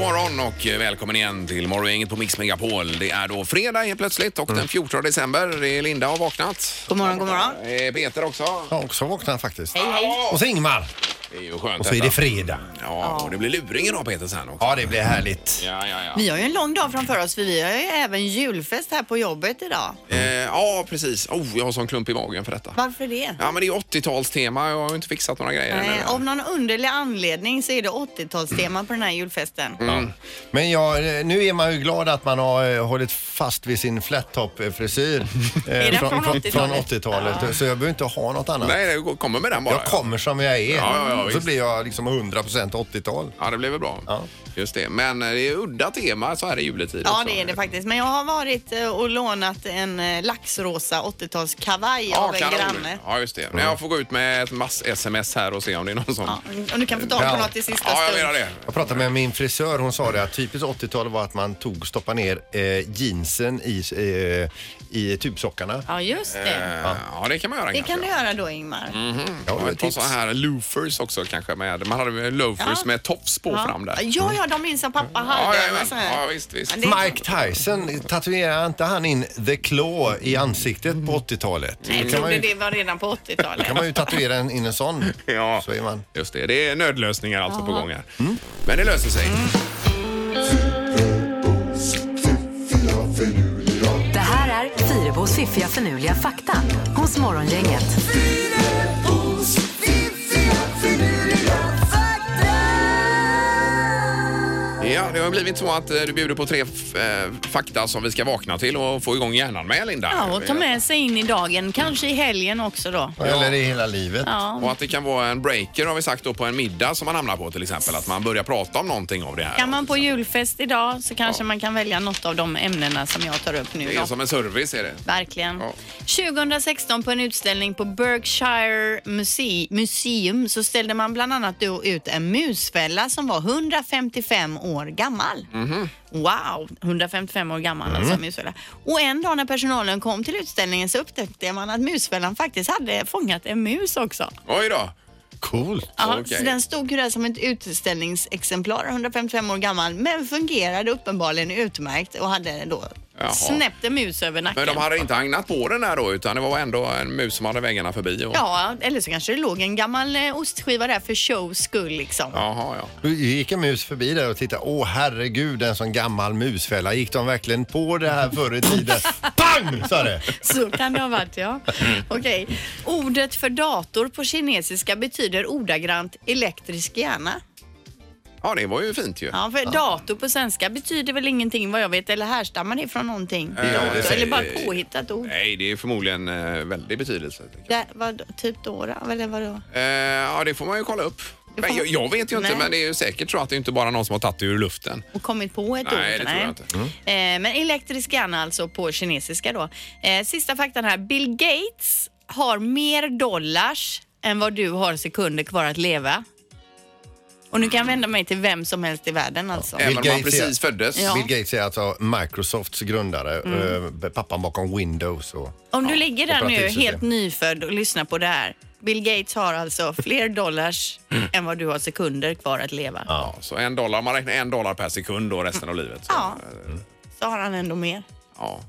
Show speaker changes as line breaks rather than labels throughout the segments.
och eh, välkommen igen till Morgongänget på Mix Megapol. Det är då fredag helt plötsligt och den 14 december. Det är Linda har vaknat.
Mm. God morgon, god morgon.
Eh, Peter också.
Jag har också vaknat faktiskt.
Hej, hej.
Och så Ingmar.
Det är ju skönt
Och så är det
detta.
fredag.
Ja, och det blir luring idag Peter sen också.
Ja, det blir härligt.
Ja, ja, ja.
Vi har ju en lång dag framför oss för vi har ju även julfest här på jobbet idag.
Eh, ja, precis. Oh, jag har sån klump i magen för detta.
Varför det?
Ja, men det är 80-talstema. Jag har ju inte fixat några grejer ännu.
Eh, av någon underlig anledning så är det 80-talstema på den här julfesten.
Mm,
Men ja, eh, nu är man ju glad att man har eh, hållit fast vid sin flat top-frisyr.
Är den från
Från
80-talet?
80-talet. Så jag behöver inte ha något annat.
Nej, jag kommer med den bara.
Jag kommer som jag är.
ja, ja,
så
visst.
blir jag liksom 100% 80-tal.
Ja, det blev väl bra.
Ja.
Just det. Men eh, det är udda tema så här i juletid
Ja,
också.
det är det faktiskt. Men jag har varit eh, och lånat en eh, laxrosa 80-talskavaj
Ja,
av en
kanon.
granne. Mm.
Ja, just det. Men jag får gå ut med ett mass-sms här och se om det är någon som...
Ja, och du kan få tag på
Ja.
något i sista
Ja, jag
stund.
menar det.
Jag pratade med min frisör. Hon sa det att typiskt 80-tal var att man tog stoppa ner eh, jeansen i, eh, i tubsockarna.
Ja, just det.
Eh, Ja, det kan man göra
Det
kanske.
kan du göra då, Ingmar.
Mm,
Ja,
Och ett par
tips.
så här loafers också kanske. Med, man hade väl loafers
Ja.
med tops på fram där.
Ja, ja, de minns som pappa
Ja,
hade.
jajamän.
och så här.
ja, visst, visst.
Men det-
Mike Tyson, tatuerade inte han in the claw i ansiktet på 80-talet?
Nej,
Då
jag
kan man
trodde
ju,
det var redan på 80-talet.
kan man ju tatuera en- in en sån.
Ja.
Så är man.
Just det, det är nödlösningar alltså på gång här. Men det löser sig.
Det här är Fyrabos fiffiga förnuliga fakta hos Morgongänget.
Ja, det har blivit så att eh, du bjuder på tre f- eh, fakta som vi ska vakna till och få igång hjärnan med, Linda.
Ja, och ta med sig in i dagen, kanske i helgen också då.
Eller i hela livet.
Och att det kan vara en breaker har vi sagt då på en middag som man hamnar på till exempel. Att man börjar prata om någonting av det här.
Kan man på julfest idag så kanske man kan välja något av de ämnena som jag tar upp nu
Det är
då.
som en service är det.
Verkligen.
Ja.
2016 på en utställning på Berkshire Muse- Museum så ställde man bland annat då ut en musfälla som var 155 år gammal.
Mhm.
Wow, 155 år gammal
Mm.
alltså musfälla. Och en dag när personalen kom till utställningen så upptäckte man att musfällan faktiskt hade fångat en mus också.
Oj då!
Coolt.
Ja,
Okej.
så den stod ju där som ett utställningsexemplar, 155 år gammal, men fungerade uppenbarligen utmärkt och hade då
Jaha.
snäppt en mus över nacken.
Men de hade inte agnat på den här då utan det var ändå en mus som hade väggarna förbi. Och...
Ja, eller så kanske det låg en gammal eh, ostskiva där för shows skull liksom.
Jaha, ja.
Då gick en mus förbi där och tittade. Åh herregud, en sån gammal musfälla. Gick de verkligen på det här förr i tiden? Pang! sa det.
Så kan det ha varit ja. Okej. Ordet för dator på kinesiska betyder ordagrant elektrisk hjärna.
Ja, det var ju fint ju.
Ja, för dator på svenska betyder väl ingenting vad jag vet eller härstammar det från någonting?
gör det. Eh.
Så- eller bara ett påhittat ord.
Nej, det är förmodligen eh, väldig betydelse. tänker
Det, vad, typ då, då? Eller vadå?
jag. Eh, ja, det får man ju kolla upp. Men jag, jag vet ju inte,
Nej.
men det är ju säkert så att det inte bara är någon som har tagit det ur luften.
och kommit på ett
Nej,
ord.
det tror jag inte.
Eh, men elektrisk hjärna alltså på kinesiska då. Eh, sista faktan här. Bill Gates har mer dollars än vad du har sekunder kvar att leva. Och nu kan jag vända mig till vem som helst i världen alltså.
Även om
Gates
man precis
är-
föddes.
Ja. Mm.
Bill Gates är alltså Microsofts grundare. eh, Pappan bakom Windows. Och...
Om du ligger där nu
operativsystem.
helt nyfödd och lyssnar på det här. Bill Gates har alltså fler dollars än vad du har sekunder kvar att leva.
Mm. Ja, så en dollar, man räknar en dollar per sekund då resten av livet. Så,
Ja.
eh,
Så har han ändå mer.
ja.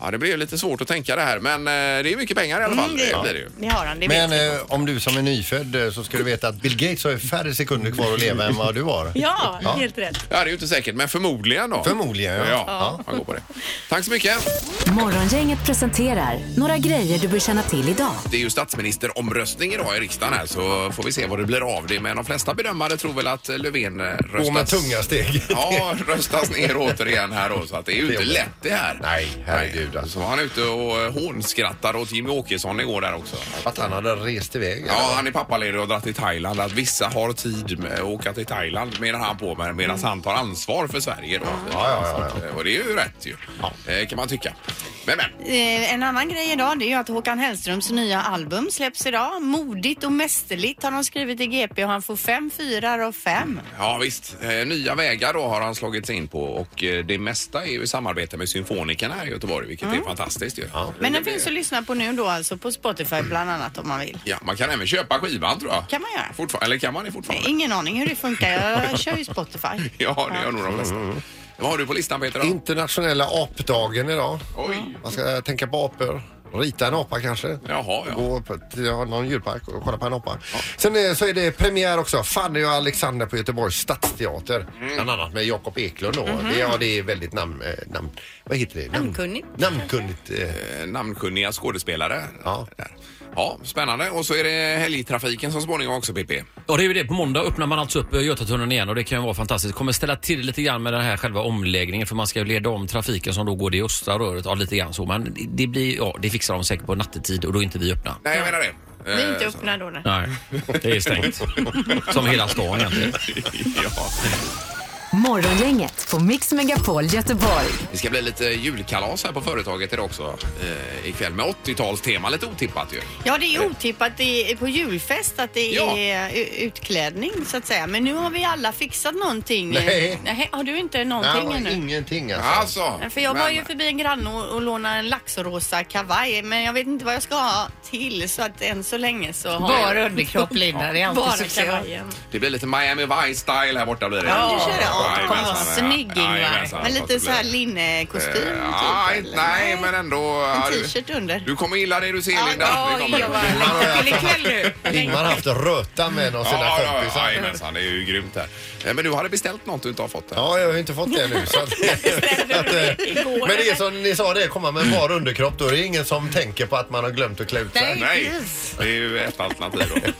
ja, det blir ju lite svårt att tänka det här, men eh, det är mycket pengar i alla fall. det blir det ju.
Det har han, det
Men
vet vi.
eh, om du som är nyfödd eh, så ska du veta att Bill Gates har ju färre sekunder kvar att leva än vad du har.
Ja, helt rätt.
eh, Ja, det är ju inte säkert, men förmodligen då.
Förmodligen,
Ja,
ja.
ja. man går på det. Tack så mycket.
Morgongänget presenterar några grejer du bör känna till idag.
Det är ju statsministeromröstning idag i riksdagen här så får vi se vad det blir av det. Men de flesta bedömare tror väl att Löfven eh,
Gå med
röstas,
tunga steg.
ja, röstas ner återigen här då. Så att det är ju inte
Det är-
lätt det här.
Nej, herregud,
Nej.
alltså.
Så var han ute och eh, hånskrattade åt Jimmy Åkesson igår där också.
Att han hade rest iväg. eller?
Ja, han är pappaledig och dragit till Thailand. Att vissa har tid med att åka till Thailand medan han på med medan han tar ansvar för Sverige då.
Mm. ja, ja, ja.
Så att, eh, Och det är ju rätt ju, eh, kan man tycka. Men, men.
Eh, En annan grej idag det är ju att Håkan Hellströms nya album släpps idag. Modigt och mästerligt har de skrivit i GP och han får fem fyrar av fem.
Ja visst, Eh, nya vägar då har han slagit sig in på och eh, det mesta är ju i samarbete med symfonikerna här i Göteborg vilket är fantastiskt ju.
Mm. Men den
Det-
finns att lyssna på nu då alltså på Spotify bland annat om man vill.
Ja, man kan även köpa skivan tror jag.
Kan man göra?
Fortfar- eller kan man det fortfarande?
Ingen aning hur det funkar. Jag kör ju Spotify.
Ja, det gör nog de
Mm,
flesta. Vad har du på listan Peter? Då?
Internationella apdagen idag.
Oj.
Man ska eh, tänka på apor. Rita en apa kanske.
Jaha, ja.
Gå på till ja, någon djurpark och kolla på en apa. Sen eh, så är det premiär också. Fanny och Alexander på Göteborgs stadsteater.
Mm.
Bland annat med Jakob Eklund då.
Mhm.
det, ja, det är väldigt namn... eh, namn vad heter det? Namn-
Namnkunnigt.
Namnkunnigt. Eh,
Eh, Namnkunniga skådespelare.
Ja.
Där. ja, spännande. Och så är det helgtrafiken som småningom också Pippi.
Ja, det är ju det. På måndag öppnar man alltså upp eh, Götatunneln igen och det kan ju vara fantastiskt. kommer ställa till lite grann med den här själva omläggningen för man ska ju leda om trafiken som då går det östra röret. Ja, lite grann så. Men det blir, ja, det fixar de säkert på nattetid och då är inte vi öppna.
Nej, jag menar det.
Vi är inte
Eh, så-
öppna då. nej.
Nej, det är stängt. Som hela stan egentligen.
ja.
Morgongänget på Mix Megapol Göteborg.
Det ska bli lite julkalas här på företaget idag också eh, ikväll med 80-talstema. Lite otippat ju.
Ja, det är ju otippat det är på julfest att det
Ja.
är u- utklädning så att säga. Men nu har vi alla fixat någonting.
Nej.
Nej har du inte någonting
Nej,
ännu?
ingenting alltså.
Alltså,
Nej, För jag var
men-
ju förbi en granne och, och lånade en laxrosa kavaj men jag vet inte vad jag ska ha till så att än så länge så har
Bara
jag
underkropp, Linda. Det är alltid
bara
succé.
kavajen.
Det blir lite Miami Vice-style här borta blir det. Ja,
du kör det. Ja, det kommer
jajamensan,
vara snygg, Ingvar.
jajamensan,
Men
att det
lite så här
blir-
linnekostym
Eh,
typ,
ja,
eller?
inte- nej, men ändå. ja,
En
du-
t-shirt under.
Du kommer gilla det du ser,
Ja,
Linda.
ja,
Det kommer du.
jag var längtat till ikväll nu.
Ingmar har haft röta med en av sina
Ja, ja,
kompisar.
ja, jajamensan, det är ju grymt här. Eh, Men du hade beställt något du inte har fått? Här.
Ja, jag har ju inte fått det nu. Så att, att, eh, men det är som ni sa, det komma med en bar underkropp. Då är det ingen som tänker på att man har glömt att klä ut sig.
Nej, det är ju ett alternativ då.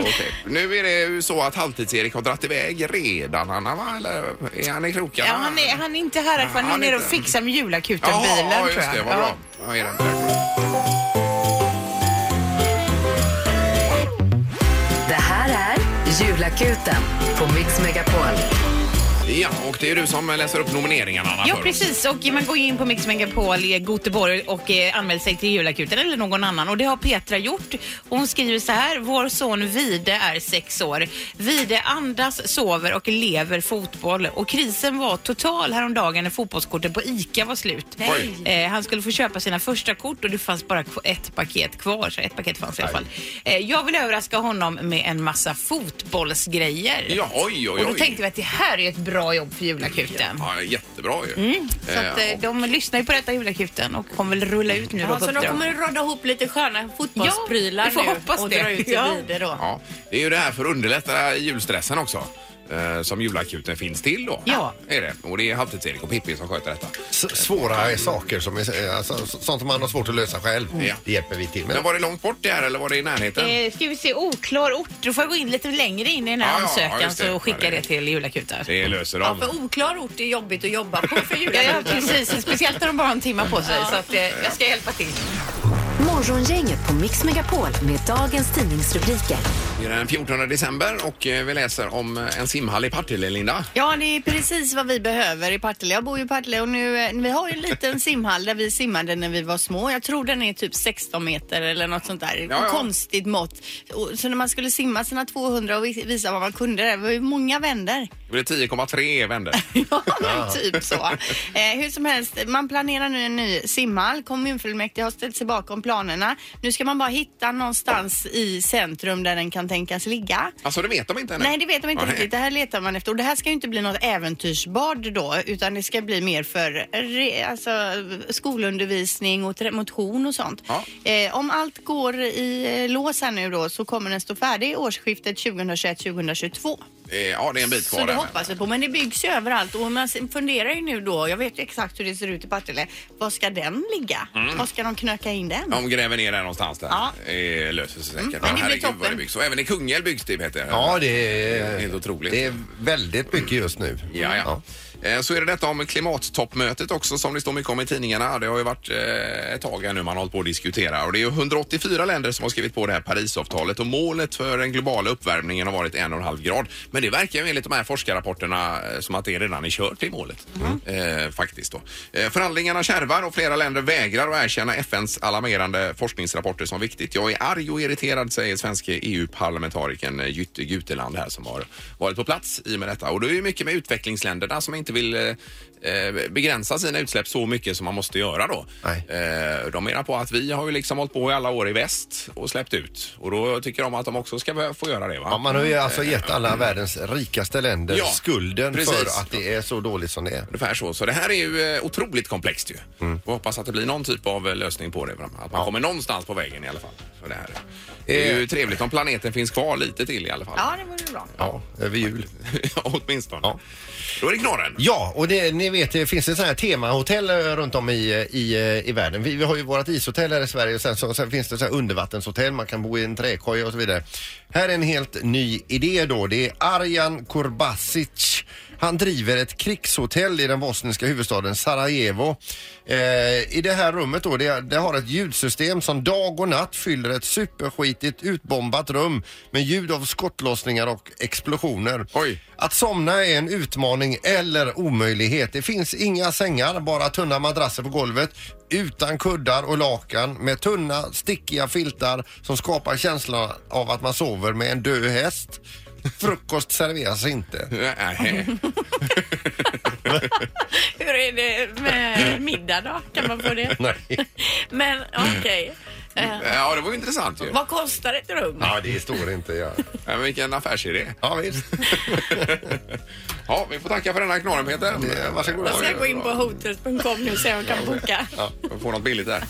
Okej. Nu är det ju så att Halvtids-Erik har dragit iväg redan, Anna, va? Eller är han i krokarna?
Ja, han, är, han är inte här
Ja,
för han
han
är
är
nere och
inte-
fixar med
Jaha,
julakuten-bilen
ja,
tror
just
jag.
det. Vad
Ja.
bra. Ja, är den där.
Det här är Julakuten på Mix Megapol.
Ja, och det är ju du som läser upp nomineringarna, Anna.
Ja
för oss.
precis och man går in på Mix Megapol i Göteborg och eh, anmäler sig till julakuten eller någon annan och det har Petra gjort. Hon skriver så här, vår son Vide är sex år. Vide andas, sover och lever fotboll och krisen var total häromdagen när fotbollskorten på ICA var slut.
Oj.
Eh, han skulle få köpa sina första kort och det fanns bara kv- ett paket kvar, så ett paket fanns i alla fall. Eh, jag vill överraska honom med en massa fotbollsgrejer.
Ja, oj, oj,
Och då
oj.
tänkte vi att det här är ett bra jobb för julakuten.
Ja, jättebra ju.
Mm,
Så att,
Eh,
eh, de lyssnar ju på detta julakuten och kommer väl rulla ut nu då
Ja,
på
så de
uppdrag.
kommer rada ihop lite sköna fotbollsprylar
Ja, vi får
nu
hoppas
och
det.
dra ut i
Ja.
vide då.
Ja, det är ju det här för att underlätta julstressen också. eh, Som julakuten finns till då.
Ja.
Är det. Och det är Halvtids-Erik och Pippi som sköter detta.
S- Svåra är saker som är, alltså, sånt som man har svårt att lösa själv.
Ja.
Det hjälper vi till med.
Men var det långt bort det här eller var det i närheten?
Eh, ska vi se, oklar ort. Då får jag gå in lite längre in i den här
Ja, ja,
ansökan
ja, just det.
så skickar
Ja, det-
det till julakuten.
Det löser
Ja,
de.
för oklar ort är jobbigt att jobba på för
Ja,
julen.
ja, precis. Speciellt när de bara har en timme på sig. Så att, eh, jag ska hjälpa till.
Morgongänget på Mix Megapol med dagens tidningsrubriker.
Det är den 14 december och eh, vi läser om eh, en simhall i Partille, Linda.
Ja, det är precis vad vi behöver i Partille. Jag bor ju i Partille och nu, eh, vi har ju en liten simhall där vi simmade när vi var små. Jag tror den är typ 16 meter eller något sånt där.
Ja, ja.
Konstigt mått. Och, så när man skulle simma sina 200 och vis- visa vad man kunde, det var ju många vänder.
Det blir 10,3 vänder.
Ja, men typ så. Eh, hur som helst, man planerar nu en ny simhall. Kommunfullmäktige har ställt sig bakom planerna. Nu ska man bara hitta någonstans i centrum där den kan tänkas ligga.
Alltså det vet de inte ännu.
Nej, det vet de inte
Nej.
riktigt. Det här letar man efter. Och det här ska ju inte bli något äventyrsbad då, utan det ska bli mer för re, alltså, skolundervisning och tre- motion och sånt.
Ja.
Eh, om allt går i eh, lås här nu då så kommer den stå färdig i årsskiftet 2021-2022.
Eh, Ja, det är en bit kvar
Så det
än.
hoppas vi på. Men det byggs ju överallt och man funderar ju nu då, jag vet ju exakt hur det ser ut i Partille. Var ska den ligga?
Mm.
Var ska de knöka in den?
De gräver ner den någonstans där.
Ja. Mm,
Eh, löser sig säkert.
Men det blir
Herregud, vad
toppen.
det byggs. Och även i Kungälv byggs det, Peter.
Ja, det är
Helt otroligt.
Det är väldigt mycket just nu.
Ja, ja. Eh, Så är det detta om klimattoppmötet också som det står mycket om i tidningarna. Det har ju varit eh, ett tag här nu man har hållit på att diskutera och det är ju 184 länder som har skrivit på det här Parisavtalet och målet för den globala uppvärmningen har varit en och en halv grad. Men det verkar ju enligt de här forskarrapporterna eh, som att det redan är kört i målet. Eh, faktiskt då. Eh, förhandlingarna kärvar och flera länder vägrar att erkänna FNs alarmerande forskningsrapporter som viktigt. Jag är arg och irriterad säger svenske EU-parlamentarikern eh, Jytte Guteland här som har varit på plats i och med detta. Och det är ju mycket med utvecklingsländerna som inte vill eh, eh, begränsa sina utsläpp så mycket som man måste göra då.
Nej.
Eh, De menar på att vi har ju liksom hållit på i alla år i väst och släppt ut och då tycker de att de också ska börja få göra det va?
Ja, man har ju alltså gett alla världens rikaste länder
Ja,
skulden
precis.
för att det är så dåligt som det är.
Ungefär så. Så det här är ju eh, otroligt komplext ju.
Mm.
Och hoppas att det blir någon typ av eh, lösning på det. Att man kommer någonstans på vägen i alla fall. För det, här. det
Eh.
är ju trevligt om planeten finns kvar lite till i alla fall.
Ja, det vore bra.
Ja, över jul.
Åtminstone.
Ja.
Då är det knorren.
Ja, och det, ni vet det finns ett sånt här temahotell eh, runt om i, eh, i, eh, i världen. Vi, vi har ju vårt ishotell här i Sverige och sen, så, sen finns det så här undervattenshotell, man kan bo i en träkoja och så vidare. Här är en helt ny idé då. Det är Arjan Kurbasic. Han driver ett krigshotell i den bosniska huvudstaden Sarajevo. Eh, I det här rummet då, det, det har ett ljudsystem som dag och natt fyller ett superskitigt utbombat rum med ljud av skottlossningar och explosioner.
Oj.
Att somna är en utmaning eller omöjlighet. Det finns inga sängar, bara tunna madrasser på golvet utan kuddar och lakan med tunna stickiga filtar som skapar känslan av att man sover med en död häst. Frukost serveras inte.
Nej.
Hur är det med middag då? Kan man få det?
Nej.
Men okej. Eh,
Ja, det var ju intressant ju.
vad kostar ett rum?
Ja, det står inte. Ja,
Ja, men vilken affärsidé.
ja visst.
Ja, vi får tacka för den här knorren Peter.
Det- varsågod.
Jag ska gå in på hotels.com nu och se om jag kan boka.
Ja, vi får något billigt där.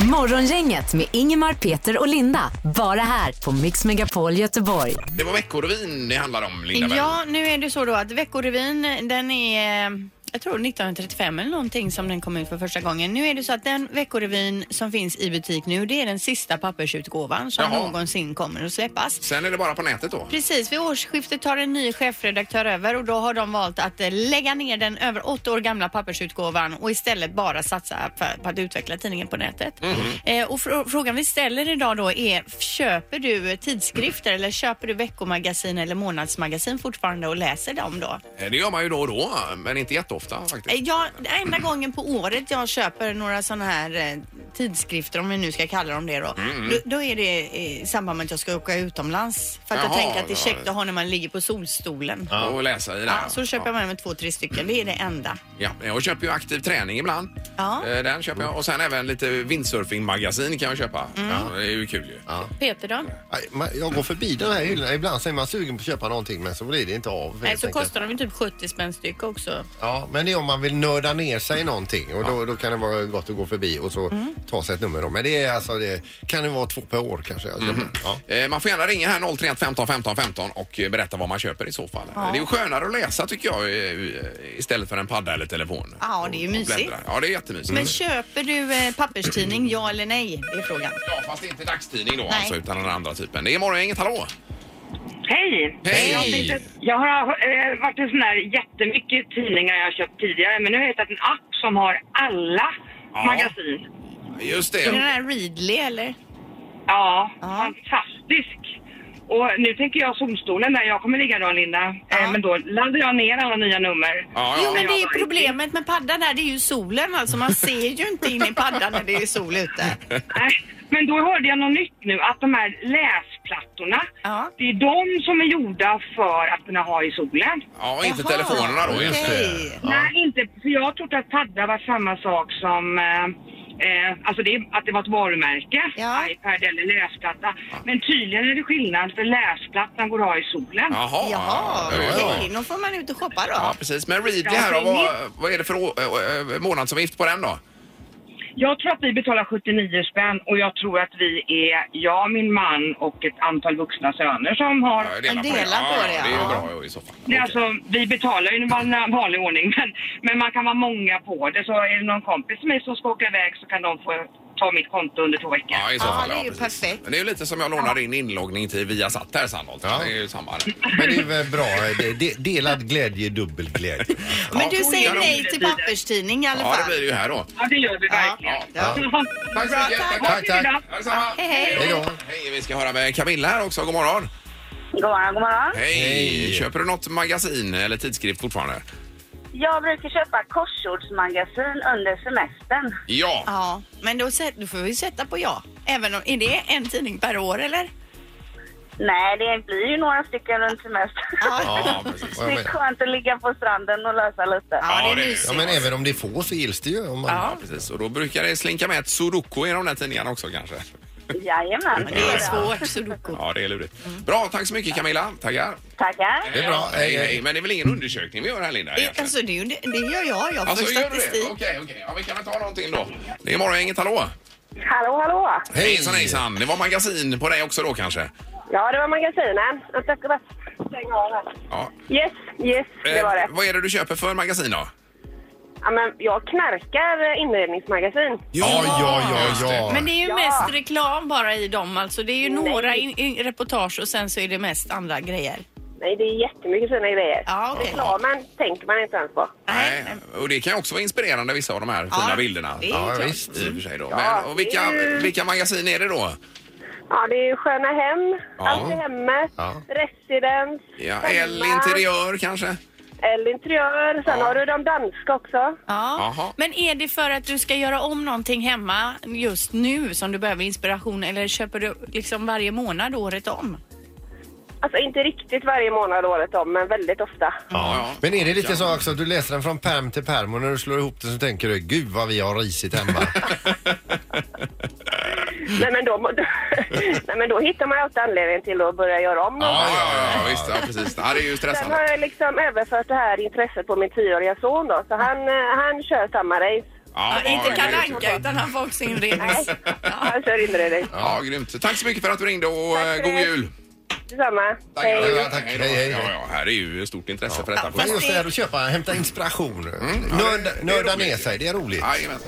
Morgongänget med Ingemar, Peter och Linda. Bara här på Mix Megapol Göteborg.
Det var veckorevyn det handlade om Linda.
Ja, nu är det så då att Veckorevyn den är eh, jag tror 1935 eller någonting som den kom ut för första gången. Nu är det så att den Veckorevyn som finns i butik nu det är den sista pappersutgåvan som
Jaha.
någonsin kommer att släppas.
Sen är det bara på nätet då.
Precis, vid årsskiftet tar en ny chefredaktör över och då har de valt att eh, lägga ner den över åtta år gamla pappersutgåvan och istället bara satsa för- på att utveckla tidningen på nätet.
Mhm.
Eh, och frå- frågan vi ställer idag då är, köper du tidskrifter eller köper du veckomagasin eller månadsmagasin fortfarande och läser dem då?
Eh, Det gör man ju då och då, men inte jätteofta faktiskt.
Eh, Ja, det är enda gången på året jag köper några sådana här eh, tidskrifter, om vi nu ska kalla dem det då,
Mhm.
då, då är det eh, i samband med att jag ska åka utomlands. För att
Jaha,
jag tänker att det är
ja.
käckt att ha när man ligger på solstolen. Ja.
Och läsa i det här.
så köper jag med mig två, tre stycken. Det är det enda.
Ja, jag köper ju aktiv träning ibland.
Ja.
Eh, Den köper jag. Och sen även lite windsurfingmagasin kan jag köpa.
Mm.
Ja, det är ju kul ju.
Peter då?
Nej, man- Jag går förbi den här hyllan. Ibland så är man sugen på att köpa någonting men så blir det inte av.
Nej,
helt
så
enkelt.
kostar de ju typ 70 spänn styck också.
Ja, men det är om man vill nörda ner sig i någonting och då, då kan det vara gott att gå förbi och så ta sig ett nummer då. Men det är alltså, det kan det vara två per år kanske. jag köper. Ja.
Eh, Man får gärna ringa här 031 15 15 15 och eh, berätta vad man köper i så fall. Det är ju skönare att läsa tycker jag eh, istället för en padda eller telefon.
Ja, det är ju
Och
mysigt.
bläddra. Ja, det är jättemysigt.
Men köper du eh, papperstidning, ja eller nej? Det är frågan.
Ja, fast inte dagstidning då alltså, utan den andra typen. Det är morgongänget, hallå!
Hej!
Hej!
Jag, tänkte, jag har eh, varit en sån här jättemycket tidningar jag har köpt tidigare men nu har jag hittat en app som har alla
Ja.
magasin.
Just
Är det den
det.
här Readly eller?
Ja,
Ja.
fantastisk! Och nu tänker jag solstolen där jag kommer ligga då Linda.
Ja.
Eh, men då laddar jag ner alla nya nummer.
Ja,
Jo men
ja.
det är problemet med paddan här, det är ju solen alltså. Man ser ju inte in i paddan när det är sol ute.
Nej, Eh, Men då hörde jag något nytt nu att de här läsplattorna,
Ja.
det är de som är gjorda för att kunna ha i solen.
ja inte
Jaha,
telefonerna då.
okej.
Just det.
Nej, inte. För jag trodde att padda var samma sak som... Eh, eh, alltså det, att det var ett varumärke,
Ja.
iPad eller läsplatta. Men tydligen är det skillnad för läsplattan går att ha i solen.
Jaha,
Jaha,
Ja, ja,
okej.
ja.
Då får man ut och shoppa då.
Ja, precis. Men Readly
Ja,
här då,
det är
vad, vad är det för å- ö- ö- månadsavgift på den då?
Jag tror att vi betalar 79 spänn och jag tror att vi är jag, min man och ett antal vuxna söner som har...
Ja,
Ja, dela på det,
Ja, det är ju
ja.
bra i så fall.
Det är
Okej.
alltså, vi betalar ju i van- vanlig ordning men, men man kan vara många på det. Så är det någon kompis som är som ska åka iväg så kan de få ta mitt konto under två veckor.
Ja, i så
Ja,
fall.
det är ju
precis.
perfekt.
Men det är ju lite som jag lånar in inloggning till Viasat här Sandholt.
Ja.
Det är ju samma.
Men det är väl bra. De- de- Delad glädje är dubbel glädje.
Ja,
Men du säger
kanon.
nej till papperstidning i alla
Ja, det
fall.
blir det ju här då.
Ja, det gör vi verkligen.
Ja. Tack så mycket.
Tack, tack.
Detsamma.
hej.
Hej då.
Hej, vi ska höra med Camilla här också. God morgon.
God morgon, god morgon.
Hej.
Hej.
Köper du något magasin eller tidskrift fortfarande?
Jag brukar köpa korsordsmagasin under semestern.
Ja.
Ja, men då, sä- då får vi sätta på ja. Även om, är det en tidning per år eller?
Nej, det blir ju några stycken runt semestern.
Ja, precis.
Ja,
Det
men,
är skönt att ligga på stranden och lösa lite.
Ja,
det är
det är
mysigt.
ja, men även om det är få så gills det ju. Om man,
Ja, precis. Och då brukar det slinka med ett sudoku i de där tidningarna också kanske.
Jajamän.
Det är svårt, sudoku.
Ja, det är lurigt. Bra, tack så mycket Camilla. Tackar.
Tackar.
Det är bra. Hej, hej.
Men det är väl ingen undersökning vi gör här Linda?
Det, alltså, det, är ju- det, det gör jag. Jag får
Alltså, gör du det?
statistik.
Okej, okej. Ja, vi kan väl ta någonting då. Det är morgongänget, hallå!
Hallå, hallå.
Hej. Hejsan, hejsan. Det var magasin på dig också då kanske?
Ja, det var magasinen. Vänta, Jag ska bara stänga av här.
Ja.
Yes, yes, det
Eh,
var det.
Vad är det du köper för magasin då?
Ja, men jag knarkar eh, inredningsmagasin.
Ja, ja, ja,
Just det.
ja.
Men det är ju
Ja.
mest reklam bara i dem alltså. Det är ju några in, in, reportage och sen så är det mest andra grejer.
Nej, det är jättemycket fina grejer.
Ja, okej.
Reklamen tänker man inte ens på.
Nej,
Nej. Och det kan ju också vara inspirerande vissa av de här fina bilderna.
det är
Ja,
klart.
visst.
I och för sig då.
Ja,
Men, och vilka,
det är ju-
vilka magasin är det då?
Ja, det är sköna hem,
Ja.
allt i hemmet,
Ja.
residens,
Ja,
hemma,
L interiör kanske?
L interiör. Sen
Ja.
har du de danska också.
Ja.
Jaha.
Men är det för att du ska göra om någonting hemma just nu som du behöver inspiration eller köper du liksom varje månad året om?
Alltså inte riktigt varje månad året om, men väldigt ofta.
Ja, ja.
Men är det lite så också att du läser den från perm till perm och när du slår ihop den så tänker du gud vad vi har risigt hemma.
Nej, men då, nej, men då hittar man ju alltid anledningen till att börja göra om.
Ja, ja, ja, visst. Ja, precis. Ja, det är ju
Sen har
stressande.
jag liksom överfört det här intresset på min tioåriga son då, så han, eh, han kör samma race.
Ja, ja,
inte Kalle
grymt.
Anka utan han får också inredning.
Nej, han kör inredning.
Ja, grymt. Tack så mycket för att du ringde och eh,
för
god
det.
jul!
Detsamma.
Tack,
Hej.
Ja, tack.
då.
Hej, hej.
Ja, ja, här är ju stort intresse för detta.
Men just det här att köpa, hämta inspiration.
Mm. det
Nörda,
är
nörda
roligt.
ner sig, det är roligt.
Jajamän.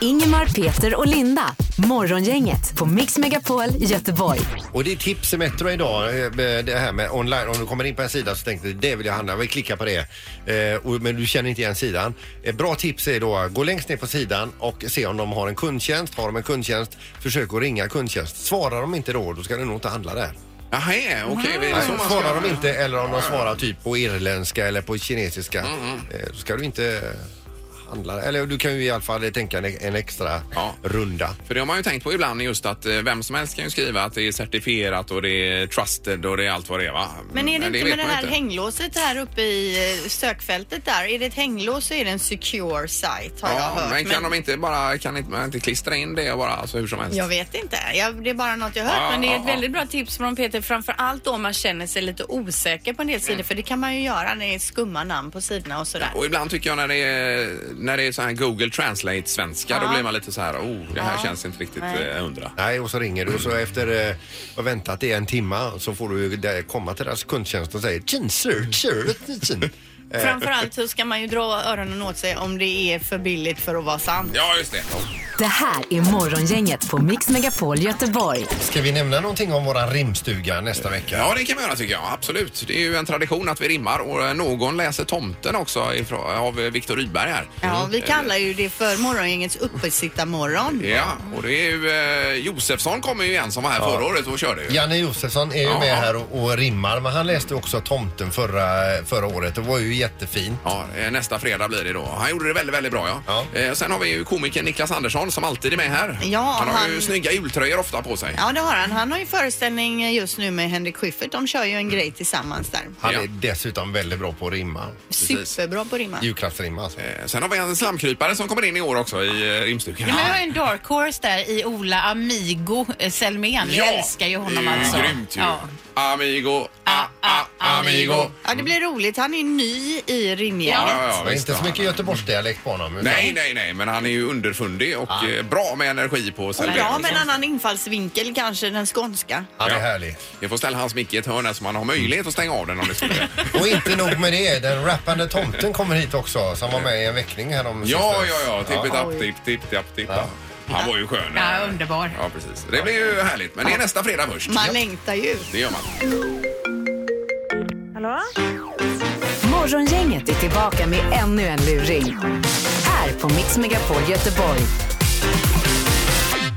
Ingemar, Peter och Linda. Morgongänget på Mix Megapol Göteborg.
Och det är tips i Metro idag, eh, det här med online. Om du kommer in på en sida så tänker du det vill jag handla, vi klickar på det. Eh, och, men du känner inte igen sidan. Ett bra tips är då gå längst ner på sidan och se om de har en kundtjänst. Har de en kundtjänst, försök att ringa kundtjänst. Svarar de inte då, då ska du nog inte handla där.
Jaha, okej. det är
Nej,
så man ska-
svarar de inte eller om de svarar typ på irländska eller på kinesiska
Mm,
eh, så ska du inte eh, handla. Eller du kan ju i alla fall tänka en, en extra
Ja.
runda.
För det har man ju tänkt på ibland just att eh, vem som helst kan ju skriva att det är certifierat och det är trusted och det är allt vad det är va?
Men är det inte
vet
med det
man
här
inte.
hänglåset här uppe i eh, sökfältet där? Är det ett hänglås så är det en secure site har jag
Ja,
hört.
men kan de inte bara, kan inte, man inte klistra in det och bara alltså hur som helst?
Jag vet inte. Jag, det är bara något jag
Ja,
hört. men det är
ja,
ett
ja.
väldigt bra tips från Peter. Framför allt om man känner sig lite osäker på en del sidor. För det kan man ju göra när det är skumma namn på sidorna och sådär.
Och ibland tycker jag när det är, när det är så här Google Translate-svenska då blir man lite så här, oh, det här känns inte riktigt eh, hundra.
Nej, och så ringer du och så efter eh, att väntat i en timma så får du ju där komma till deras kundtjänst och säga tjin, sir, sir, Eh, tjin.
Framförallt så ska man ju dra öronen åt sig om det är för billigt för att vara sant.
Ja, just det.
Det här är Morgongänget på Mix Megapol Göteborg.
Ska vi nämna någonting om våran rimstuga nästa vecka?
Ja, det kan man göra tycker jag. Absolut. Det är ju en tradition att vi rimmar och eh, någon läser Tomten också ifrån, av eh, Viktor Rydberg här.
Ja, vi kallar ju det för morgongängets uppesittarmorgon.
Ja, och det är ju eh, Josefsson kommer ju igen som var här förra året och körde ju.
Janne Josefsson är ju
Ja.
med här och, och rimmar men han läste också Tomten förra, förra året. Det var ju jättefint.
Ja, eh, nästa fredag blir det då. Han gjorde det väldigt, väldigt bra ja.
Ja.
Eh, sen har vi ju komikern Niklas Andersson som alltid är med här.
Ja,
han har ju
han-
snygga jultröjor ofta på sig.
Ja, det har han. Han har ju föreställning just nu med Henrik Schyffert. De kör ju en grej tillsammans där.
Han
Ja.
är dessutom väldigt bra på att rimma.
Superbra på att rimma.
Julklappsrimma alltså.
Eh, sen har vi en slamkrypare som kommer in i år också i eh, rimstugan.
Ja, men jag har en dark horse där i Ola Amigo eh, Selmén.
Ja,
Jag älskar ju honom
det är ju
alltså.
grymt ju.
Ja.
Amigo, a, a, amigo. Ja,
Ja, det blir roligt. Han är ny i rimgänget.
ja, ja,
Men
visst,
inte
ja.
så mycket Göteborgsdialekt på honom. utan-
Nej, nej, nej, men han är ju underfundig och eh, bra med energi på sig.
Ja, med en annan infallsvinkel kanske, den skånska.
Han är
Ja.
härlig.
Jag får ställa hans mick i ett hörn här så man har möjlighet att stänga av den om det skulle...
Och inte nog med det, den rappande tomten kommer hit också som var med i en väckning här om
Ja,
sistens.
ja, ja. Tippitapp, tipp, tipp, tipp, tipp.
Ja.
Han var ju skön.
Ja, underbar.
Ja, precis. Det blir ju härligt. Men det är nästa fredag först.
Man
Ja,
längtar ju.
Det gör man.
Morgongänget är tillbaka med ännu en luring. Här på Mix Megapol Göteborg.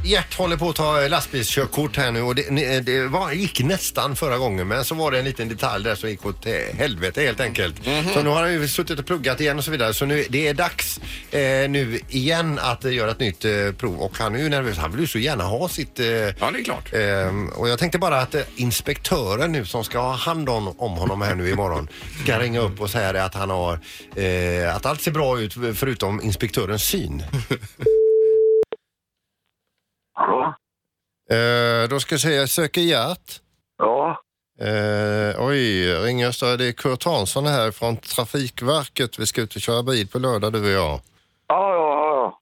Gert håller på att ta eh, lastbilskörkort här nu och det, ni- eh, det var, gick nästan förra gången men så var det en liten detalj där som gick åt eh, helvete helt enkelt. Så nu har han ju suttit och pluggat igen och så vidare så nu, det är dags eh, nu igen att eh, göra ett nytt eh, prov och han är ju nervös. Han vill ju så gärna ha sitt eh,
Ja, det är klart.
Ehm, och jag tänkte bara att eh, inspektören nu som ska ha hand om, om honom här nu imorgon ska ringa upp och säga det att han har eh, att allt ser bra ut förutom inspektörens syn.
Hallå?
Eh, då ska jag säga söker hjärt.
Ja,
Eh, oj, ring Östra. Det är Kurt Hansson här från Trafikverket. Vi ska ut och köra bil på lördag du och jag.
ja, ja, ja.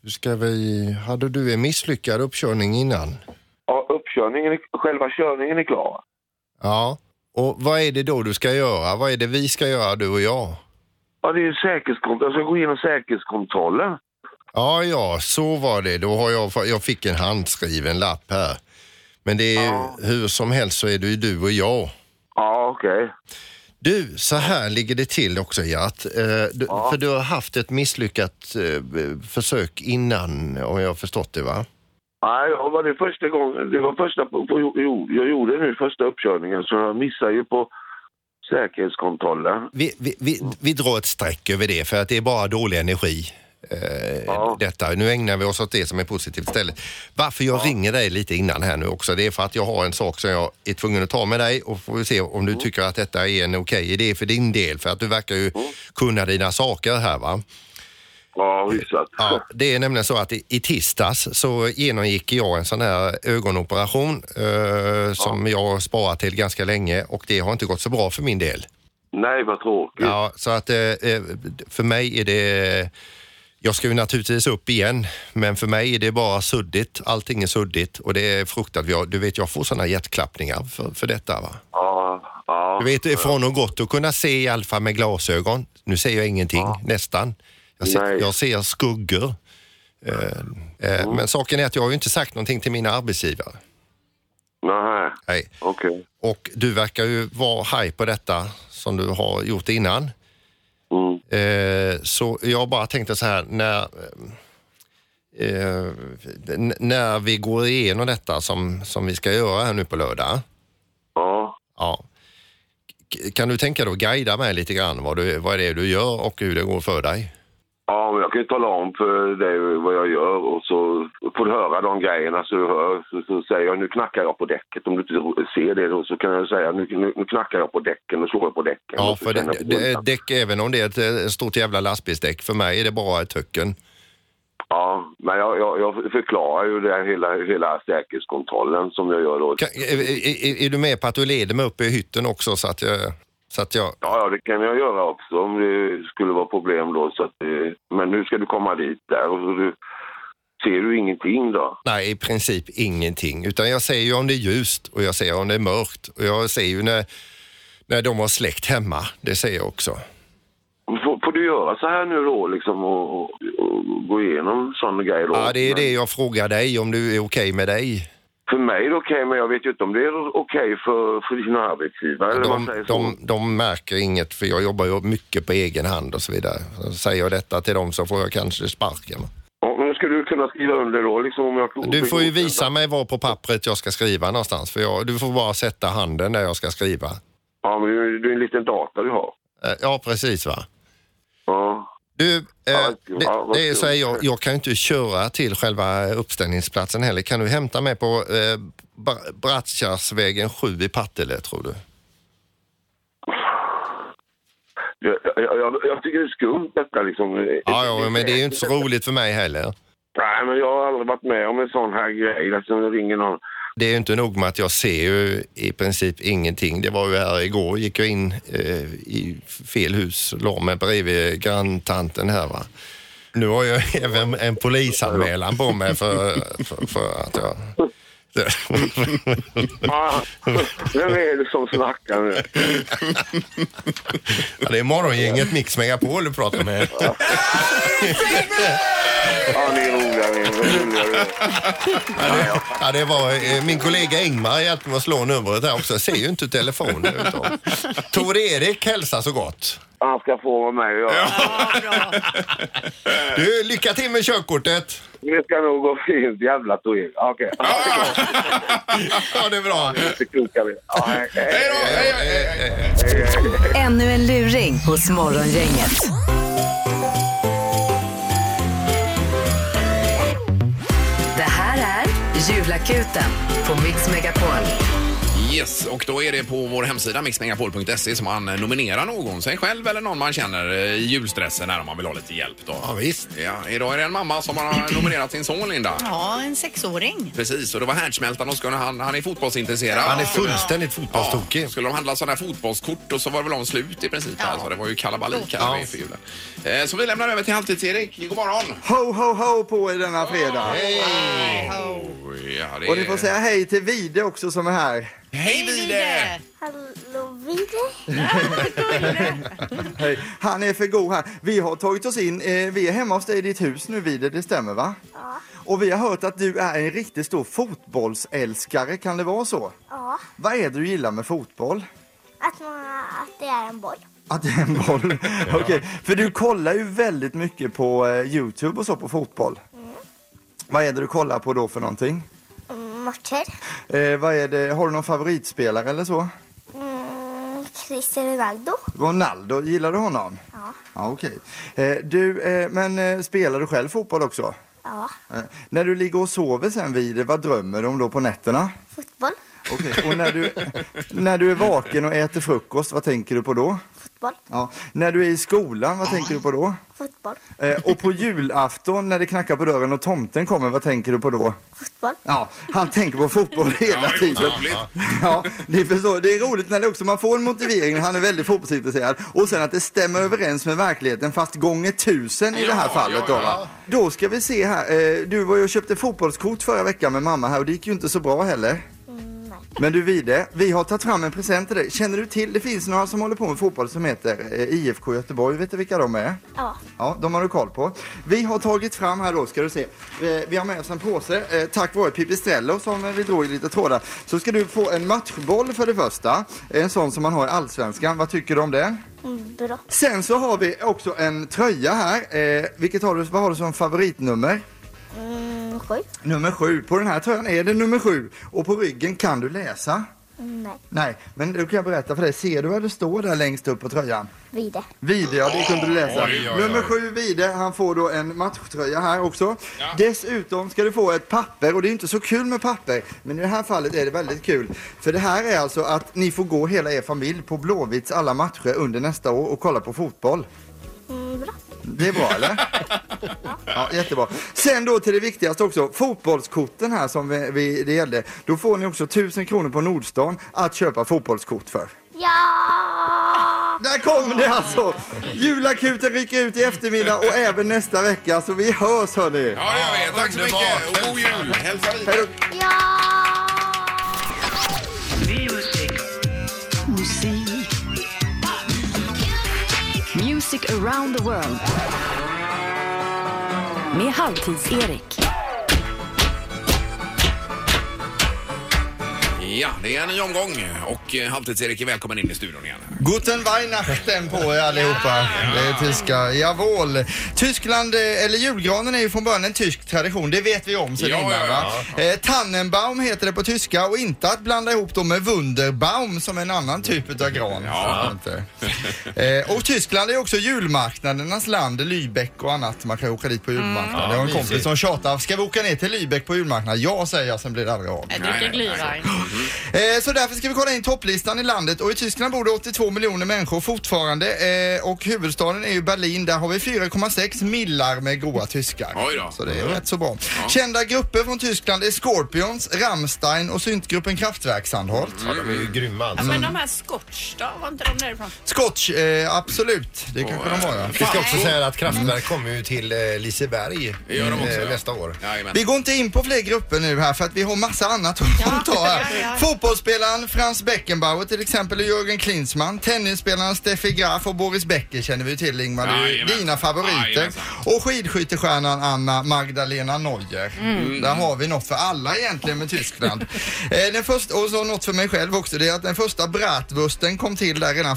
Nu ska vi... Hade du en misslyckad uppkörning innan?
ja uppkörningen, är- själva körningen är klar.
Ja. Och vad är det då du ska göra? Vad är det vi ska göra du och jag?
Ja, det är säkerhetskontroll. Jag ska gå igenom säkerhetskontrollen.
Ja, ja, så var det. Då har jag, jag fick en handskriven lapp här. Men det är, hur som helst så är det ju du och jag.
Ja, okej.
Du, så här ligger det till också Gert. Eh, du, För du har haft ett misslyckat eh, b- försök innan om jag har förstått det va?
Nej, ja, var det första gången. Det var första på, på, jo, jag gjorde nu första uppkörningen så jag missade ju på säkerhetskontrollen.
Vi, vi, vi, vi drar ett streck över det för att det är bara dålig energi. Eh,
Ja.
detta. Nu ägnar vi oss åt det som är positivt istället. Varför jag ringer dig lite innan här nu också, det är för att jag har en sak som jag är tvungen att ta med dig och får vi se om du tycker att detta är en okej idé för din del. För att du verkar ju kunna dina saker här va.
Ja, hyfsat.
Ja, det är nämligen så att i, i tisdags så genomgick jag en sån här ögonoperation eh, som jag har sparat till ganska länge och det har inte gått så bra för min del.
Nej, vad tråkigt.
Ja, så att eh, eh, för mig är det... Jag ska ju naturligtvis upp igen, men för mig är det bara suddigt. Allting är suddigt och det är fruktansvärt. Jag, du vet, jag får såna hjärtklappningar för, för detta. Va?
Ja, ja.
Du vet, det är från och gott att kunna se i alla fall med glasögon. Nu ser jag ingenting, nästan. Jag ser,
Nej. Mm.
jag ser skuggor. Eh, eh, Men saken är att jag har ju inte sagt någonting till mina arbetsgivare.
Nej,
Nej.
okej.
Och du verkar ju vara haj på detta som du har gjort innan.
Mm.
Eh, så jag bara tänkte så här, när, eh, n- när vi går igenom detta som, som vi ska göra här nu på lördag.
Ja.
Ja. K- Kan du tänka dig att guida mig lite grann vad, du, vad det är du gör och hur det går för dig?
Ja, men jag kan ju tala om för dig vad jag gör och så får du höra de grejerna så du hör. Så, så säger jag nu knackar jag på däcket. Om du inte ser det då så kan jag säga nu, nu, nu knackar jag på däcken och slår jag på däcken.
Ja,
Och så
för det,
känner jag på
det,
bultarna.
däck, även om det är ett eh, stort jävla lastbilsdäck, för mig är det bara ett töcken.
Ja, men jag, jag, jag förklarar ju det här hela, hela säkerhetskontrollen som jag gör då.
Kan, är, är- är, är du med på att du leder mig upp i hytten också så att jag... Så att jag
Ja, ja, det kan jag göra också om det skulle vara problem då. Så att, eh, men nu ska du komma dit där och så du, ser du ingenting då?
nej, i princip ingenting. Utan jag ser ju om det är ljust och jag ser om det är mörkt. Och jag ser ju när, när de har släkt hemma. Det ser jag också.
Får, får du göra så här nu då liksom och, och, och gå igenom sådana grejer då?
Ja, det är
Men-
det jag frågar dig, om du är okej med dig.
För mig är det okej, men jag vet ju inte om det är okej för, för dina arbetsgivare. eller man
De,
säger så.
de, de märker inget, för jag jobbar ju mycket på egen hand och så vidare. Så Säger jag detta till dem så får jag kanske sparken.
Ja, men skulle du kunna skriva under då? Liksom, om jag
Du får ju visa mig var på pappret jag ska skriva någonstans, för jag, du får bara sätta handen där jag ska skriva.
Ja, men det är ju- det är en liten data du har.
Eh, Ja, precis va.
Ja.
Du, eh,
Ja,
det,
ja, vad
det är så här,
kul.
jag, jag kan ju inte köra till själva uppställningsplatsen heller. Kan du hämta mig på eh, Bra- Brattkärrsvägen 7 i Partille, tror du?
Jag, jag, jag, jag tycker det är skumt detta liksom.
Ja, ja, men det är ju inte så roligt för mig heller.
Nej, men jag har aldrig varit med om en sån här grej. Alltså, jag ringer någon.
Det är ju inte nog med att jag ser ju i princip ingenting. Det var ju här igår, gick jag in eh, i fel hus, la mig bredvid granntanten här va. Nu har jag även en polisanmälan på mig för, för, för att jag...
Ah, vem är det som snackar nu?
Ja, det är morgongänget Mix Megapol du pratar med.
Ja, ni är roliga. Ni är roliga. gör det.
Ja, det var, eh, min kollega Ingmar hjälpte mig att slå numret här också. Jag ser ju inte telefonen. utan- Tor-Erik hälsar så gott.
Han ska få vara med och göra.
Du, lycka till med körkortet.
Det ska nog gå fint. Jävla Tor-Erik. Okej.
Ja, det är bra.
Det klokar vi. Ja, hej, hej.
Hej då! Hej, hej, hej.
Ännu en luring hos Morgongänget. Det här är Julakuten på Mix Megapol.
Yes, och då är det på vår hemsida mixmegapol.se som man nominerar någon, sig själv eller någon man känner eh, i julstressen när man vill ha lite hjälp då.
Ja, visst.
Ja, idag är det en mamma som har nominerat sin son Linda.
Ja, en sexåring.
Precis, och det var härdsmältan och skulle han, han är fotbollsintresserad.
Han är fullständigt
Ja,
fotbollstokig.
skulle de handla sådana här fotbollskort och så var det väl om slut i princip. Alltså, det var ju kalabalik här inför julen. Eh, så vi lämnar över till Halvtids-Erik. God morgon!
Ho, ho, ho på er denna fredag.
Oj, ja, det
Och ni får
är-
säga hej till Vide också som är här.
Hej Vide!
Hej. Han är för god här. Vi har tagit oss in, eh, vi är hemma hos dig i ditt hus nu Vide, det stämmer va? Ja. Och vi har hört att du är en riktigt stor fotbollsälskare, kan det vara så? Ja. Vad är det du gillar med fotboll?
Att, man, att det är en boll.
Att det är en boll? Okej, för du kollar ju väldigt mycket på eh, Youtube och så på fotboll. Vad är det du kollar på då för någonting?
Matcher.
Eh, vad är det, har du någon favoritspelare eller så?
Mm, Cristiano Ronaldo.
Ronaldo, gillar du honom?
Ja.
Ja, okej. Eh, du, eh, men eh, spelar du själv fotboll också?
Ja.
Eh, när du ligger och sover sen vid vad drömmer du om då på nätterna?
Fotboll.
Okej, och när du, när du är vaken och äter frukost, vad tänker du på då?
Fotboll.
Ja. När du är i skolan, vad tänker du på då?
Fotboll.
Eh, och på julafton när det knackar på dörren och tomten kommer, vad tänker du på då?
Fotboll.
Ja, han tänker på fotboll hela
Ja, det är
tiden.
otroligt.
Ja, ni förstår. Det är roligt när det också, man får en motivering, han är väldigt fotbollsintresserad och sen att det stämmer överens med verkligheten fast gånger tusen i det här
Ja,
fallet
ja,
då va? Då ska vi se här, eh, du var ju och köpte fotbollskort förra veckan med mamma här och det gick ju inte så bra heller. Men du Vide, vi har tagit fram en present till dig. Känner du till, det finns några som håller på med fotboll som heter eh, IFK Göteborg, vet du vilka de är?
Ja.
Ja, de har du koll på. Vi har tagit fram här då, ska du se. Eh, Vi har med oss en påse. Eh, Tack vare Pipistrello som eh, vi drog i lite trådar. Så ska du få en matchboll för det första. En sån som man har i Allsvenskan. Vad tycker du om den?
Mm, Bra.
Sen så har vi också en tröja här. Eh, vilket har du, vad har du som favoritnummer?
Mm, sju.
Nummer sju. På den här tröjan är det nummer sju. Och på ryggen kan du läsa.
Mm, Nej.
Nej, men då kan jag berätta för dig. Ser du vad det står där längst upp på tröjan?
Vide.
Vide, ja det kunde du läsa.
Oj, oj, oj.
Nummer sju Vide, han får då en matchtröja här också. Dessutom ska du få ett papper och det är inte så kul med papper. Men i det här fallet är det väldigt kul. För det här är alltså att ni får gå hela er familj på Blåvitts alla matcher under nästa år och kolla på fotboll.
Mm, bra.
Det är bra eller? Ja, jättebra. Sen då till det viktigaste också, fotbollskorten här som vi, vi, det gällde. Då får ni också 1000 kronor på Nordstan att köpa fotbollskort för.
Ja!
Där kom det alltså! Julakuten rycker ut i eftermiddag och även nästa vecka, så vi hörs hörni!
Ja, det gör vi. Tack så mycket. God jul. Hälsa Vide.
Hej då.
Ja!
Music around the world. Med Halvtids-Erik.
Ja, det är en ny omgång och eh, Halvtids-Erik är välkommen in i studion igen.
Guten Weihnachten på er allihopa. Det är tyska. Jawohl. Tyskland, eh, eller julgranen är ju från början en tysk tradition, det vet vi om sen
Ja,
innan
ja,
va? Eh, Tannenbaum heter det på tyska och inte att blanda ihop dem med Wunderbaum som är en annan typ av gran.
Ja.
Inte. Eh, och Tyskland är också julmarknadernas land, Lübeck och annat. Man kan ju åka dit på julmarknaden.
Mm.
jag har en kompis som tjatar, ska vi åka ner till Lübeck på julmarknad? Ja, säger jag, sen blir det aldrig av.
Jag
Nej, Mm.
dricker
nej, nej.
glühwein.
Eh, så därför ska vi kolla in topplistan i landet och i Tyskland bor det 82 miljoner människor fortfarande eh, och huvudstaden är ju Berlin. Där har vi 4,6 millar med goa tyskar.
Oj då.
Så det är rätt så bra. Kända grupper från Tyskland är Scorpions, Rammstein och syntgruppen Kraftwerk Sandholt.
Mm.
Ja, de är ju grymma
Ja,
alltså.
men de här Scotch då, var inte de därifrån?
Scotch, eh, absolut. Det kanske de var
eh,
ja.
Vi ska också säga att Kraftwerk kommer ju till eh, Liseberg
Det gör de också,
eh,
ja.
nästa år.
Jajamän.
Vi går inte in på fler grupper nu här för att vi har massa annat att ta här. Fotbollsspelaren Franz Beckenbauer till exempel och Jörgen Klinsmann. Tennisspelarna Steffi Graf och Boris Becker känner vi ju till Ingmar. Det är ju
Jajamän.
dina favoriter.
Jajamensan.
Och skidskyttestjärnan Anna Magdalena Neuer.
Mm.
Där har vi något för alla egentligen med Tyskland. eh, den första, och så något för mig själv också. Det är att den första bratwursten kom till där redan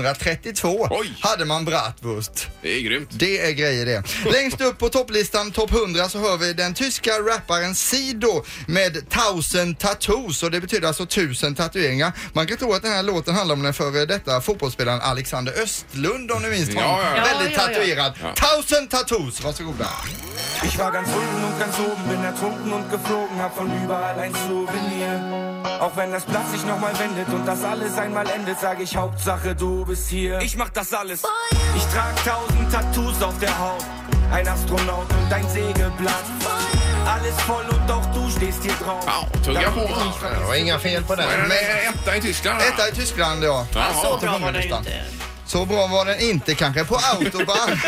1432. Hade man bratwurst.
Det är grymt.
Det är grejer det. Längst upp på topplistan, topp 100, så hör vi den tyska rapparen Sido med 1000 tattoos och det betyder alltså 1000 tatueringar. Man kan tro att den här låten handlar om den före detta fotbollsspelaren Alexander Östlund om ni minns
Ja,
honom.
ja, ja.
Väldigt
Ja, ja, ja.
tatuerad. 1000 tattoos, varsågoda.
Ich war ganz unten und ganz oben, bin ertrunken und geflogen, hab von überall ein Souvenir. Auch wenn das Blatt sich nochmal wendet und das alles einmal endet, sag ich Hauptsache du bist hier. Ich mach das alles. Ich trag tausend Tattoos auf der Haut, ein Astronaut und ein Sägeblatt. Alles voll und auch du stehst hier drauf.
tugga på.
Det var inga fel på den.
Vad är det med etta i Tyskland?
Etta i Tyskland, ja.
Ja, så bra
Åtta
var den
hundralistan. Så bra var den inte kanske. På autobahn,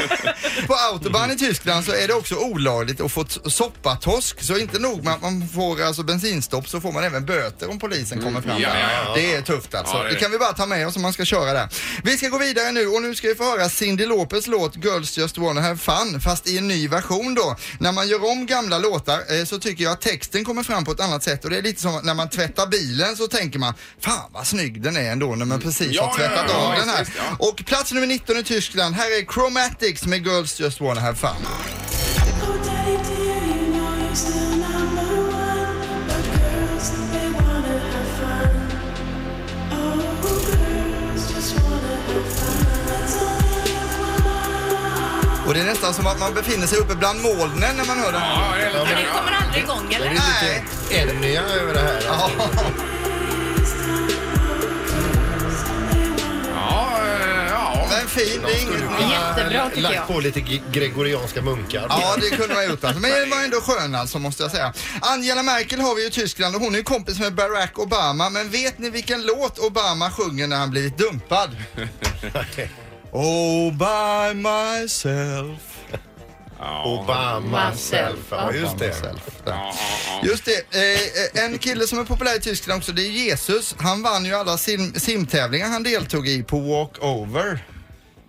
på autobahn i Tyskland så är det också olagligt att få t- soppatorsk. Så inte nog med att man får alltså bensinstopp så får man även böter om polisen kommer fram.
ja,
där.
ja, ja.
Det är tufft alltså.
Ja, det
det,
är det.
kan vi bara ta med oss om man ska köra där. Vi ska gå vidare nu och nu ska vi få höra Cyndi Lopez låt Girls Just Wanna Have Fun fast i en ny version då. När man gör om gamla låtar eh, så tycker jag att texten kommer fram på ett annat sätt och det är lite som när man tvättar bilen så tänker man fan vad snygg den är ändå när man precis
Mm. Ja,
har
ja,
tvättat
ja,
av
ja,
den här.
visst, ja.
Och plats nummer 19 i Tyskland, här är Chromatics med Girls Just Wanna Have Fun. Och det är nästan som att man befinner sig uppe bland molnen när man hör den här.
Ja,
Men den kommer aldrig igång eller?
Nej.
Enya över det här.
Ja, eh, ja.
Men fin, det är inget...
Jättebra tycker jag. Lagt på lite gre- gregorianska munkar.
Ja, det kunde man ha gjort alltså. Men den var ändå skön alltså, måste jag säga. Angela Merkel har vi ju i Tyskland och hon är ju kompis med Barack Obama. Men vet ni vilken låt Obama sjunger när han blivit dumpad? Oh, by myself.
Obama self. Ja, just det.
Just det. Eh, eh, en kille som är populär i Tyskland också, det är Jesus. Han vann ju alla sim- simtävlingar han deltog i på walkover.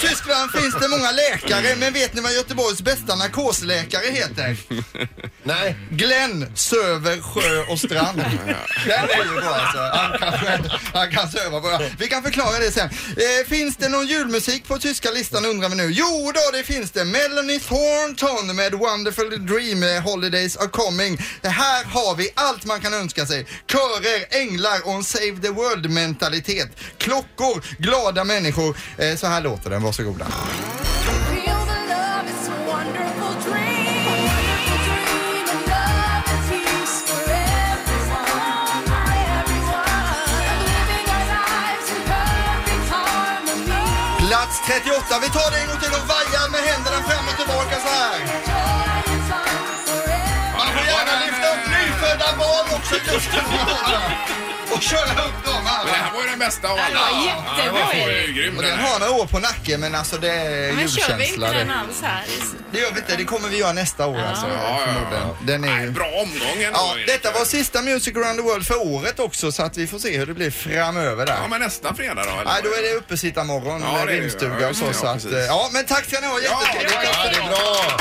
Tyskland finns det många läkare, men vet ni vad Göteborgs bästa narkosläkare heter?
Nej.
Glenn söver sjö och strand. Den är ju bra alltså. Han kan, han kan söva bara. Vi kan förklara det sen. Eh, finns det någon julmusik på tyska listan undrar vi nu. Jo då, det finns det. Melanie Thornton med Wonderful Dream, eh, Holidays Are Coming. Det här har vi allt man kan önska sig. Körer, änglar och en Save the World mentalitet. Klockor, glada människor. Eh, så här låter den, varsågoda. Plats 38. Vi tar det en gång till och vajar med händerna fram och tillbaka så här. Man får gärna lyfta upp nyfödda barn också just nu. Och köra upp dem här.
Men det här var ju den bästa av alla.
Ja, det var
jättebra. Ja, det var ju grym
Och
den
den
här.
har några år på nacken men alltså det är
Men kör vi
julkänsla.
inte den
Det.
alls här?
det gör vi inte. Det kommer vi göra nästa år alltså.
Ja, ja,
förmodligen. Den är ju...
Bra omgång ändå.
Ja, detta var sista Music around the world för året också så att vi får se hur det blir framöver där.
Ja, men nästa fredag då? Eller?
Nej, då är det uppesittarmorgon
Ja,
med
det är det. Ja,
rimstuga och
just
så.
det.
så
Ja,
att,
precis.
eh, ja, men tack ska ni ha. Jättetrevligt.
Ja, det är bra.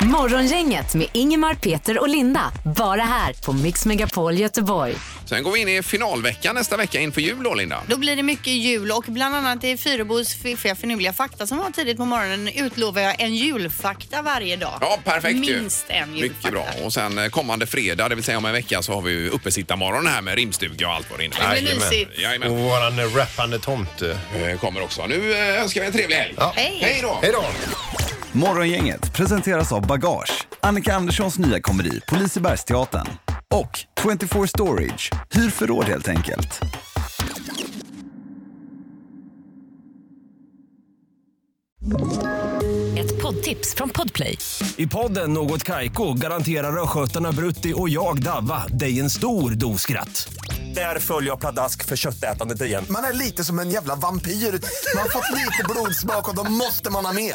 Morgongänget med Ingemar, Peter och Linda. Bara här på Mix Megapol Göteborg.
Sen går vi in i finalveckan nästa vecka inför jul då, Linda.
Då blir det mycket jul och bland annat i Fyrebos fiffiga finurliga fakta som var tidigt på morgonen utlovar jag en julfakta varje dag.
Ja, perfekt ju.
Minst en
Mycket
julfakta.
bra. Och sen eh, kommande fredag, det vill säga om en vecka, så har vi ju uppesittarmorgon här med rimstuga och allt vad det innebär.
Det blir
Jajamän.
mysigt.
Jajamän.
Och våran eh, rappande tomte.
Eh, Kommer också. Nu eh, önskar vi en trevlig helg.
Hej.
Hej då!
Hej då!
Morgongänget presenteras av Bagage, Annika Anderssons nya komedi på Lisebergsteatern och 24 Storage, hyr förråd helt enkelt.
Ett poddtips från Podplay.
I podden Något Kaiko garanterar östgötarna Brutti och jag, Davva, dig en stor dos skratt. Där följer jag pladask för köttätandet igen.
Man är lite som en jävla vampyr. Man har fått lite blodsmak och då måste man ha mer.